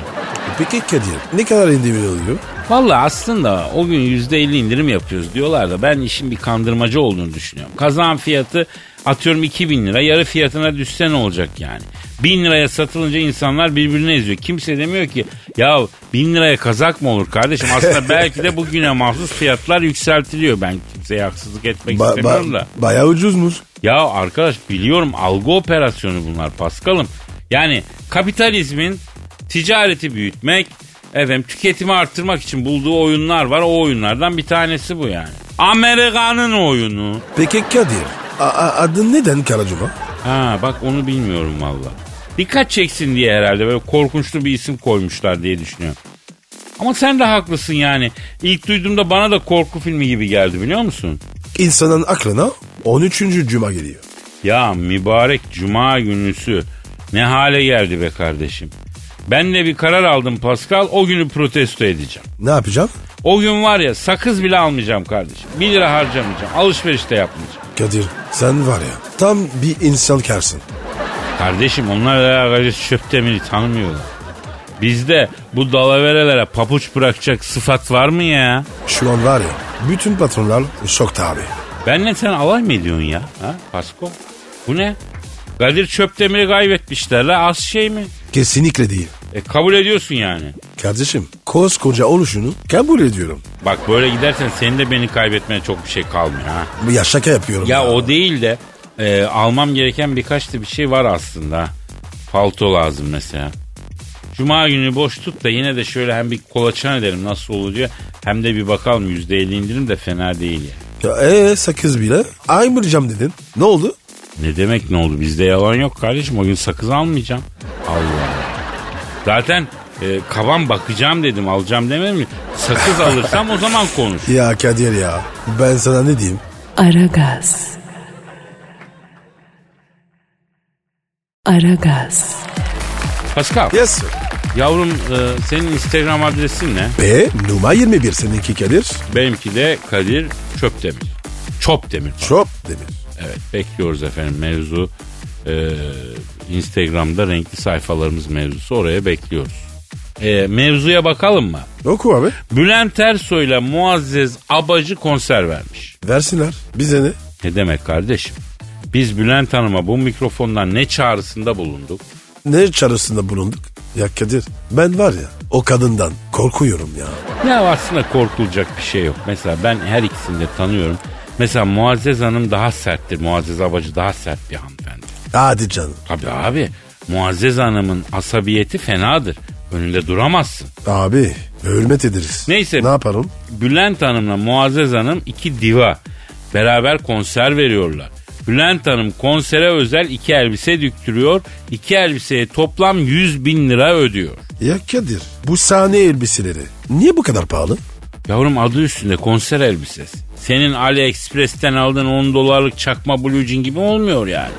Peki Kadir ne kadar indirim oluyor?
Valla aslında o gün %50 indirim yapıyoruz diyorlar da ben işin bir kandırmacı olduğunu düşünüyorum. Kazan fiyatı atıyorum 2000 lira yarı fiyatına düşse ne olacak yani? 1000 liraya satılınca insanlar birbirini eziyor. Kimse demiyor ki ya 1000 liraya kazak mı olur kardeşim? Aslında belki de bugüne mahsus fiyatlar yükseltiliyor. Ben kimseye haksızlık etmek
Ba-
istemiyorum
ba-
da.
bayağı ucuzmuş.
Ya arkadaş biliyorum algı operasyonu bunlar Paskal'ım. Yani kapitalizmin ticareti büyütmek, efendim tüketimi arttırmak için bulduğu oyunlar var. O oyunlardan bir tanesi bu yani. Amerika'nın oyunu.
Peki Kadir a- a- adı neden Karacuma?
Ha bak onu bilmiyorum valla. Dikkat çeksin diye herhalde böyle korkunçlu bir isim koymuşlar diye düşünüyorum. Ama sen de haklısın yani. İlk duyduğumda bana da korku filmi gibi geldi biliyor musun?
İnsanın aklına 13. cuma geliyor.
Ya mübarek cuma günüsü ne hale geldi be kardeşim. Ben de bir karar aldım Pascal o günü protesto edeceğim.
Ne yapacağım?
O gün var ya sakız bile almayacağım kardeşim. 1 lira harcamayacağım alışveriş de yapmayacağım.
Kadir sen var ya tam bir insan karsın.
Kardeşim onlar alakacı çöp demiri tanımıyorlar. Bizde bu dalaverelere papuç bırakacak sıfat var mı ya?
Şu an var ya bütün patronlar şokta abi.
Benle sen alay mı ediyorsun ya? Ha Pasko? Bu ne? Kadir Çöpdemir'i kaybetmişler la az şey mi?
Kesinlikle değil.
E, kabul ediyorsun yani.
Kardeşim koskoca oluşunu kabul ediyorum.
Bak böyle gidersen senin de beni kaybetmeye çok bir şey kalmıyor ha.
Ya şaka yapıyorum.
Ya o değil de e, almam gereken birkaç da bir şey var aslında. Palto lazım mesela. Cuma günü boş tut da yine de şöyle hem bir kolaçan edelim nasıl olur diyor. Hem de bir bakalım %50 indirim de fena değil yani.
Ya, ee, sakız bile. Aymayacağım dedin. Ne oldu?
Ne demek ne oldu bizde yalan yok kardeşim o gün sakız almayacağım. Allah Allah. Zaten e, kaban bakacağım dedim alacağım demedim mi? Sakız alırsam o zaman konuş.
Ya Kadir ya ben sana ne diyeyim?
Aragaz. Aragaz.
Pascal
Yes sir.
yavrum e, senin Instagram adresin ne?
Ve numara 21 seninki Kadir.
Benimki de Kadir Çöpdemir. Çopdemir.
Çok demir.
Evet bekliyoruz efendim mevzu. e, Instagram'da renkli sayfalarımız mevzusu oraya bekliyoruz. E, mevzuya bakalım mı?
Oku abi.
Bülent Ersoy'la Muazzez Abacı konser vermiş.
Versinler. Bize ne?
Ne demek kardeşim? Biz Bülent Hanım'a bu mikrofondan ne çağrısında bulunduk?
Ne çarısında bulunduk? Ya Kadir ben var ya o kadından korkuyorum ya.
Ne aslında korkulacak bir şey yok. Mesela ben her ikisini de tanıyorum. Mesela Muazzez Hanım daha serttir. Muazzez Abacı daha sert bir hanımefendi.
Hadi canım.
Tabii abi Muazzez Hanım'ın asabiyeti fenadır. Önünde duramazsın.
Abi hürmet ederiz.
Neyse.
Ne yaparım?
Bülent Hanım'la Muazzez Hanım iki diva. Beraber konser veriyorlar. Bülent Hanım konsere özel iki elbise düktürüyor. İki elbiseye toplam 100 bin lira ödüyor.
Ya Kadir bu sahne elbiseleri niye bu kadar pahalı?
Yavrum adı üstünde konser elbisesi. Senin AliExpress'ten aldığın 10 dolarlık çakma blue jean gibi olmuyor yani.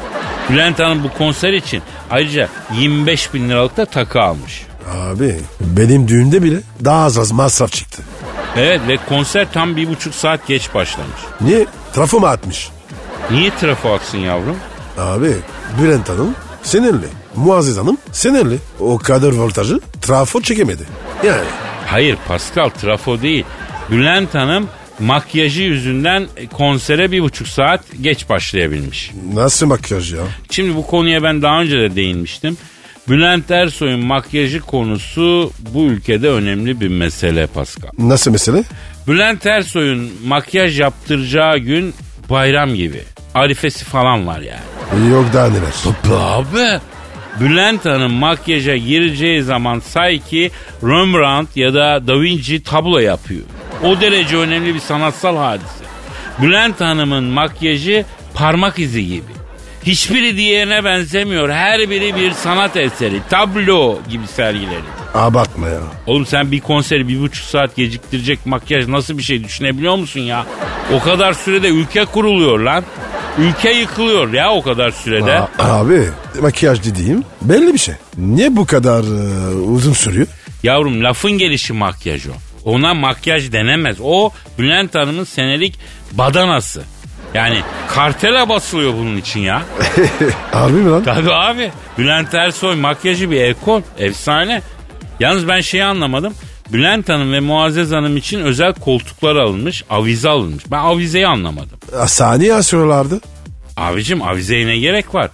Bülent Hanım bu konser için ayrıca 25 bin liralık da takı almış.
Abi benim düğünde bile daha az az masraf çıktı.
Evet ve konser tam bir buçuk saat geç başlamış.
Niye? Trafo mu atmış?
Niye trafo atsın yavrum?
Abi Bülent Hanım sinirli. Muazzez Hanım sinirli. O kadar voltajı trafo çekemedi. Yani
Hayır Pascal trafo değil. Bülent Hanım makyajı yüzünden e, konsere bir buçuk saat geç başlayabilmiş.
nasıl makyaj ya?
Şimdi bu konuya ben daha önce de değinmiştim. Bülent Ersoy'un makyajı konusu bu ülkede önemli bir mesele Pascal.
Nasıl mesele?
Bülent Ersoy'un makyaj yaptıracağı gün bayram gibi. Arifesi falan var yani.
Yok daha neler.
Abi Bülent Hanım makyaja gireceği zaman sanki Rembrandt ya da Da Vinci tablo yapıyor. O derece önemli bir sanatsal hadise. Bülent Hanım'ın makyajı parmak izi gibi. Hiçbiri diğerine benzemiyor. Her biri bir sanat eseri, tablo gibi sergileri.
Abartma ya.
Oğlum sen bir konseri bir buçuk saat geciktirecek makyaj nasıl bir şey düşünebiliyor musun ya? O kadar sürede ülke kuruluyor lan. Ülke yıkılıyor ya o kadar sürede.
A- abi makyaj dediğim belli bir şey. Niye bu kadar e, uzun sürüyor?
Yavrum lafın gelişi makyaj o. Ona makyaj denemez. O Bülent Hanım'ın senelik badanası. Yani kartela basılıyor bunun için ya.
Harbi mi lan?
Tabii abi. Bülent Ersoy makyajı bir ekol. Efsane. Yalnız ben şeyi anlamadım. Bülent Hanım ve Muazzez Hanım için özel koltuklar alınmış, avize alınmış. Ben avizeyi anlamadım.
A, Sahneye asıyorlardı.
Abicim avizeye ne gerek var?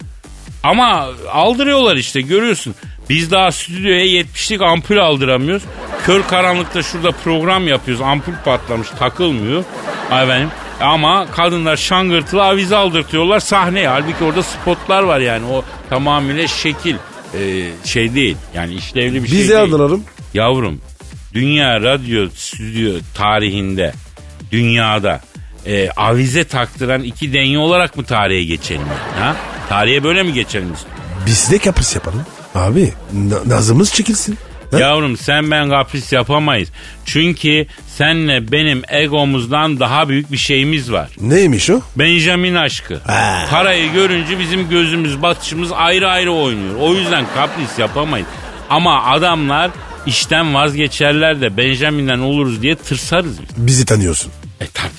Ama aldırıyorlar işte görüyorsun. Biz daha stüdyoya 70'lik ampul aldıramıyoruz. Kör karanlıkta şurada program yapıyoruz. Ampul patlamış takılmıyor. Ay benim. Ama kadınlar şangırtılı avize aldırtıyorlar sahneye. Halbuki orada spotlar var yani. O tamamıyla şekil e, şey değil. Yani işlevli bir şey
Bizi
değil.
aldıralım.
Yavrum dünya radyo stüdyo tarihinde dünyada e, avize taktıran iki denye olarak mı tarihe geçelim? Ha? Tarihe böyle mi geçelim? biz?
Biz de kapris yapalım. Abi na- nazımız çekilsin. Ha?
Yavrum sen ben kapris yapamayız. Çünkü senle benim egomuzdan daha büyük bir şeyimiz var.
Neymiş o?
Benjamin aşkı. Parayı görünce bizim gözümüz batışımız ayrı ayrı oynuyor. O yüzden kapris yapamayız. Ama adamlar işten vazgeçerler de Benjamin'den oluruz diye tırsarız biz.
Bizi tanıyorsun.
E tabi.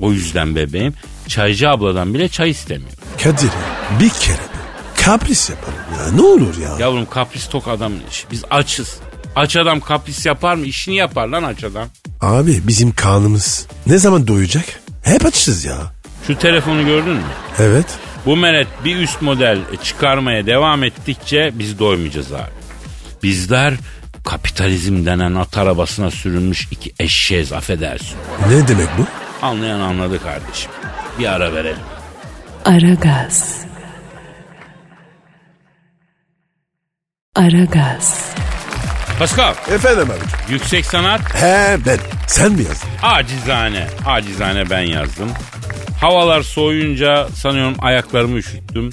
O yüzden bebeğim çaycı abladan bile çay istemiyor.
Kadir ya, bir kere bir kapris yapalım ya ne olur ya.
Yavrum kapris tok adamın işi. Biz açız. Aç adam kapris yapar mı? İşini yapar lan aç adam.
Abi bizim kanımız ne zaman doyacak? Hep açız ya.
Şu telefonu gördün mü?
Evet.
Bu meret bir üst model çıkarmaya devam ettikçe biz doymayacağız abi. Bizler kapitalizm denen at arabasına sürülmüş iki eşeğiz affedersin.
Ne demek bu?
Anlayan anladı kardeşim. Bir ara verelim.
Aragaz. Aragaz.
Pascal,
Efendim abi.
yüksek sanat
He ben. Sen mi yazdın?
acizane, acizane ben yazdım. Havalar soğuyunca sanıyorum ayaklarımı üşüttüm.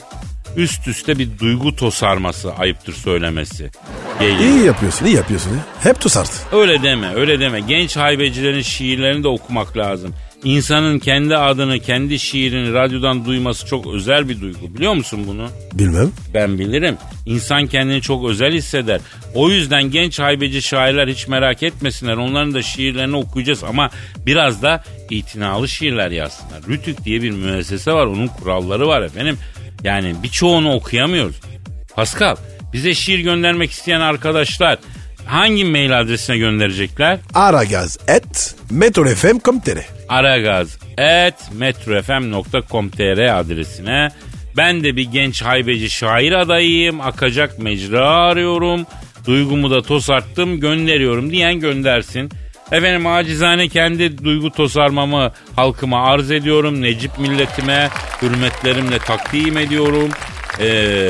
Üst üste bir duygu tosarması ayıptır söylemesi. Geliyor.
İyi yapıyorsun, iyi yapıyorsun. ya. Hep tusarsın.
Öyle deme, öyle deme. Genç haybecilerin şiirlerini de okumak lazım. İnsanın kendi adını, kendi şiirini radyodan duyması çok özel bir duygu. Biliyor musun bunu?
Bilmem.
Ben bilirim. İnsan kendini çok özel hisseder. O yüzden genç haybeci şairler hiç merak etmesinler. Onların da şiirlerini okuyacağız ama biraz da itinalı şiirler yazsınlar. Rütük diye bir müessese var. Onun kuralları var efendim. Yani birçoğunu okuyamıyoruz. Pascal bize şiir göndermek isteyen arkadaşlar hangi mail adresine gönderecekler?
Aragaz et metrofm.com.tr
aragaz.metrofm.com.tr adresine. Ben de bir genç haybeci şair adayıyım. Akacak mecra arıyorum. Duygumu da tosarttım gönderiyorum diyen göndersin. Efendim acizane kendi duygu tosarmamı halkıma arz ediyorum. Necip milletime hürmetlerimle takdim ediyorum. Ee,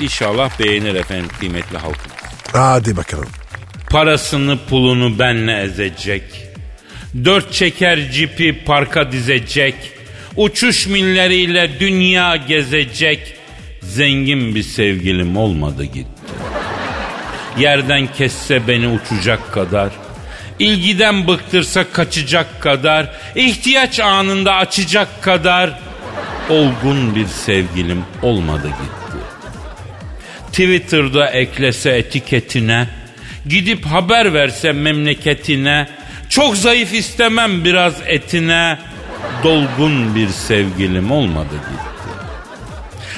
inşallah beğenir efendim kıymetli halkım.
Hadi bakalım.
Parasını pulunu benle ezecek. Dört çeker cipi parka dizecek. Uçuş milleriyle dünya gezecek. Zengin bir sevgilim olmadı gitti. Yerden kesse beni uçacak kadar. ilgiden bıktırsa kaçacak kadar. ihtiyaç anında açacak kadar. Olgun bir sevgilim olmadı gitti. Twitter'da eklese etiketine, gidip haber verse memleketine, çok zayıf istemem biraz etine, dolgun bir sevgilim olmadı gitti.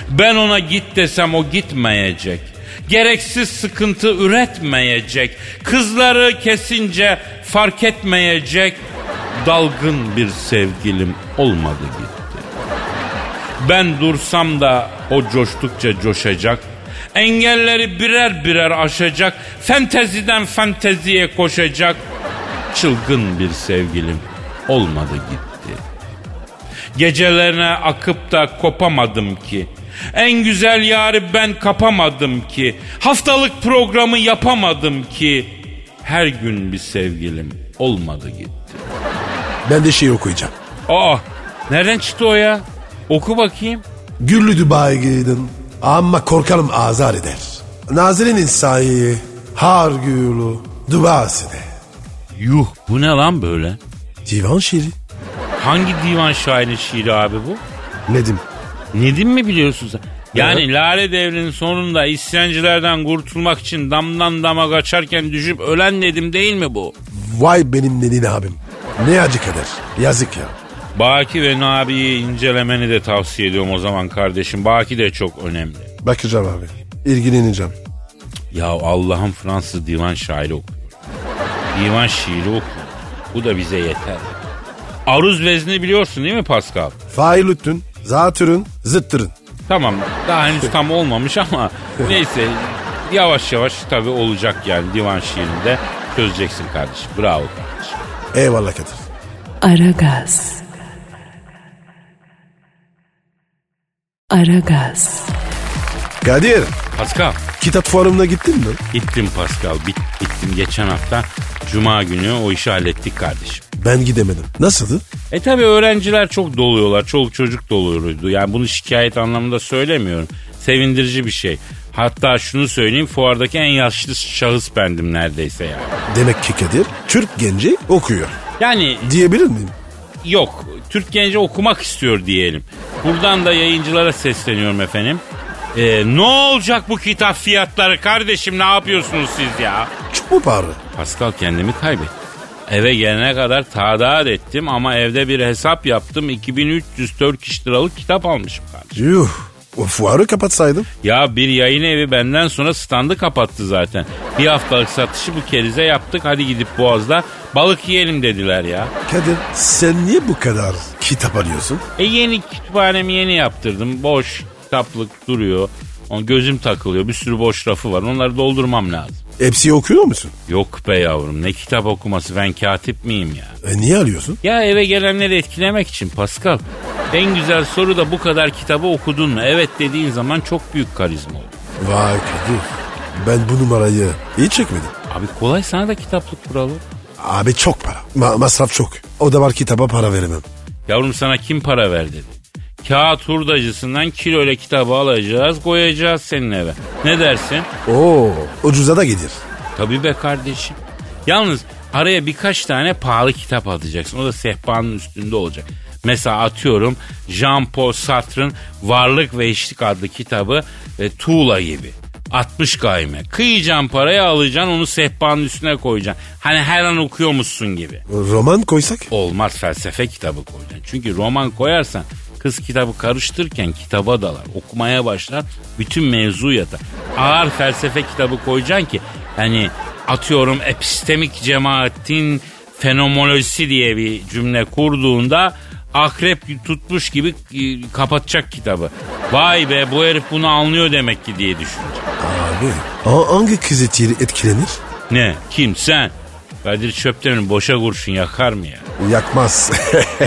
Ben ona git desem o gitmeyecek. Gereksiz sıkıntı üretmeyecek. Kızları kesince fark etmeyecek. Dalgın bir sevgilim olmadı gitti. Ben dursam da o coştukça coşacak. Engelleri birer birer aşacak. Fenteziden fenteziye koşacak. Çılgın bir sevgilim olmadı gitti. Gecelerine akıp da kopamadım ki. En güzel yarı ben kapamadım ki. Haftalık programı yapamadım ki. Her gün bir sevgilim olmadı gitti.
Ben de şiir okuyacağım.
Aa nereden çıktı o ya? Oku bakayım.
Güllü Dubai'ye gidin. Ama korkarım azar eder. Nazirin insayı har güllü Dubai'sine.
Yuh bu ne lan böyle?
Divan şiiri.
Hangi divan şairi şiiri abi bu?
Nedim.
Nedim mi biliyorsun sen? Yani Lale Devri'nin sonunda isyancılardan kurtulmak için damdan dama kaçarken düşüp ölen Nedim değil mi bu?
Vay benim Nedin abim. Ne acı kadar. Yazık ya.
Baki ve Nabi'yi incelemeni de tavsiye ediyorum o zaman kardeşim. Baki de çok önemli.
Bakacağım abi. İlgileneceğim.
Ya Allah'ım Fransız divan şairi okuyor. Divan şiiri okuyor. Bu da bize yeter. Aruz vezni biliyorsun değil mi Pascal?
Fail üttün, zatürün, zıttırın.
Tamam daha henüz tam olmamış ama neyse yavaş yavaş tabii olacak yani divan şiirinde çözeceksin kardeşim. Bravo kardeşim.
Eyvallah Kadir.
Aragaz. Aragaz.
Kadir,
Pascal
kitap fuarına gittin mi?
gittim Pascal bit, gittim geçen hafta cuma günü o işi hallettik kardeşim.
Ben gidemedim. Nasıldı?
E tabi öğrenciler çok doluyorlar. Çoluk çocuk doluyordu. Yani bunu şikayet anlamında söylemiyorum. Sevindirici bir şey. Hatta şunu söyleyeyim fuardaki en yaşlı şahıs bendim neredeyse yani.
Demek ki Kadir, Türk genci okuyor.
Yani
Diyebilir miyim?
yok. Türk genci okumak istiyor diyelim. Buradan da yayıncılara sesleniyorum efendim. Ee, ne olacak bu kitap fiyatları kardeşim ne yapıyorsunuz siz ya?
Çok mu pahalı?
Pascal kendimi kaybettim. Eve gelene kadar tadaat ettim ama evde bir hesap yaptım. 2300 Turkish liralık kitap almışım kardeşim.
Yuh. O fuarı kapatsaydım.
Ya bir yayın evi benden sonra standı kapattı zaten. Bir haftalık satışı bu kerize yaptık. Hadi gidip Boğaz'da balık yiyelim dediler ya.
Kadir, sen niye bu kadar kitap alıyorsun?
E yeni kütüphanemi yeni yaptırdım. Boş kitaplık duruyor. On gözüm takılıyor. Bir sürü boş rafı var. Onları doldurmam lazım.
Hepsi okuyor musun?
Yok be yavrum ne kitap okuması ben katip miyim ya?
E niye arıyorsun?
Ya eve gelenleri etkilemek için Pascal. En güzel soru da bu kadar kitabı okudun mu? Evet dediğin zaman çok büyük karizma olur.
Vay Kadir. Ben bu numarayı iyi çekmedim.
Abi kolay sana da kitaplık kuralı.
Abi çok para. Ma- masraf çok. O da var kitaba para veremem.
Yavrum sana kim para ver dedi. Kağıt hurdacısından kilo ile kitabı alacağız koyacağız senin eve. Ne dersin?
Oo ucuza da gelir.
Tabii be kardeşim. Yalnız araya birkaç tane pahalı kitap atacaksın. O da sehpanın üstünde olacak. Mesela atıyorum Jean-Paul Sartre'ın Varlık ve Eşlik adlı kitabı ve Tuğla gibi. 60 gayme. Kıyacaksın parayı alacaksın onu sehpanın üstüne koyacaksın. Hani her an okuyormuşsun gibi.
Roman koysak?
Olmaz felsefe kitabı koyacaksın. Çünkü roman koyarsan kız kitabı karıştırırken kitaba dalar. Okumaya başlar. Bütün mevzu yatar. Ağır felsefe kitabı koyacaksın ki hani atıyorum epistemik cemaatin fenomenolojisi diye bir cümle kurduğunda akrep tutmuş gibi e, kapatacak kitabı. Vay be bu herif bunu anlıyor demek ki diye düşünecek.
Abi ha- hangi kız eti etkilenir?
Ne? Kim? Sen? Kadir Çöptemir boşa kurşun yakar mı ya?
Yakmaz.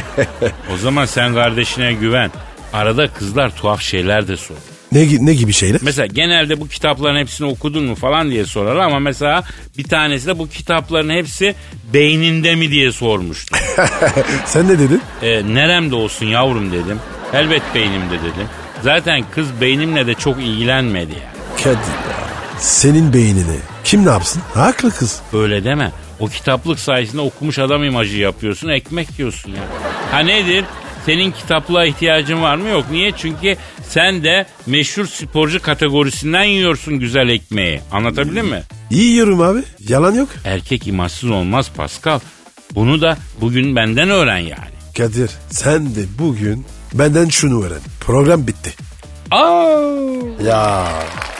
O zaman sen kardeşine güven. Arada kızlar tuhaf şeyler de soruyor.
ne, gi- ne gibi şeyler?
Mesela genelde bu kitapların hepsini okudun mu falan diye sorar ama mesela bir tanesi de bu kitapların hepsi beyninde mi diye sormuştu.
Sen ne dedin?
e, neremde olsun yavrum dedim. Elbet beynimde dedim. Zaten kız beynimle de çok ilgilenmedi ya.
Kadir ya. Senin beynini kim ne yapsın? Haklı kız.
Öyle deme. O kitaplık sayesinde okumuş adam imajı yapıyorsun, ekmek yiyorsun ya. Ha nedir? Senin kitaplığa ihtiyacın var mı? Yok. Niye? Çünkü sen de meşhur sporcu kategorisinden yiyorsun güzel ekmeği. Anlatabildim mi?
İyi yiyorum abi. Yalan yok.
Erkek imajsız olmaz Pascal. Bunu da bugün benden öğren yani.
Kadir sen de bugün benden şunu öğren. Program bitti.
Aa!
Ya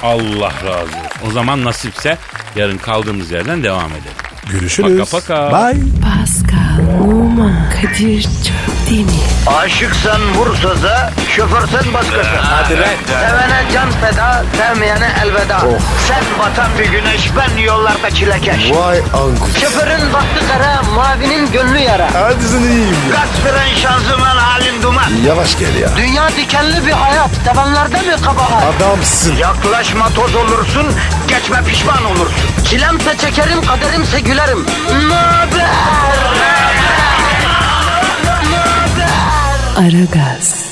Allah razı olsun. O zaman nasipse yarın kaldığımız yerden devam edelim.
görüşürüz.
Paka paka.
Bye.
Pascal, Oman, Kadir çok değil mi?
Aşıksan vursa da, şoförsen başkasın. Hadi Sevene can feda, sevmeyene elveda. Sen batan bir güneş, ben yollarda çilekeş.
Vay anku.
Şoförün baktı kara, mavinin gönlü yara.
Hadi sen iyiyim ya.
Kasperen şanzıman halin duman.
Yavaş gel ya.
Dünya dikenli bir hayat, sevenlerde mi kabahar?
Adamsın.
Yaklaşma toz olursun, geçme pişman olursun. Çilemse çekerim, kaderimse gülerim. Möber!
Aragaz.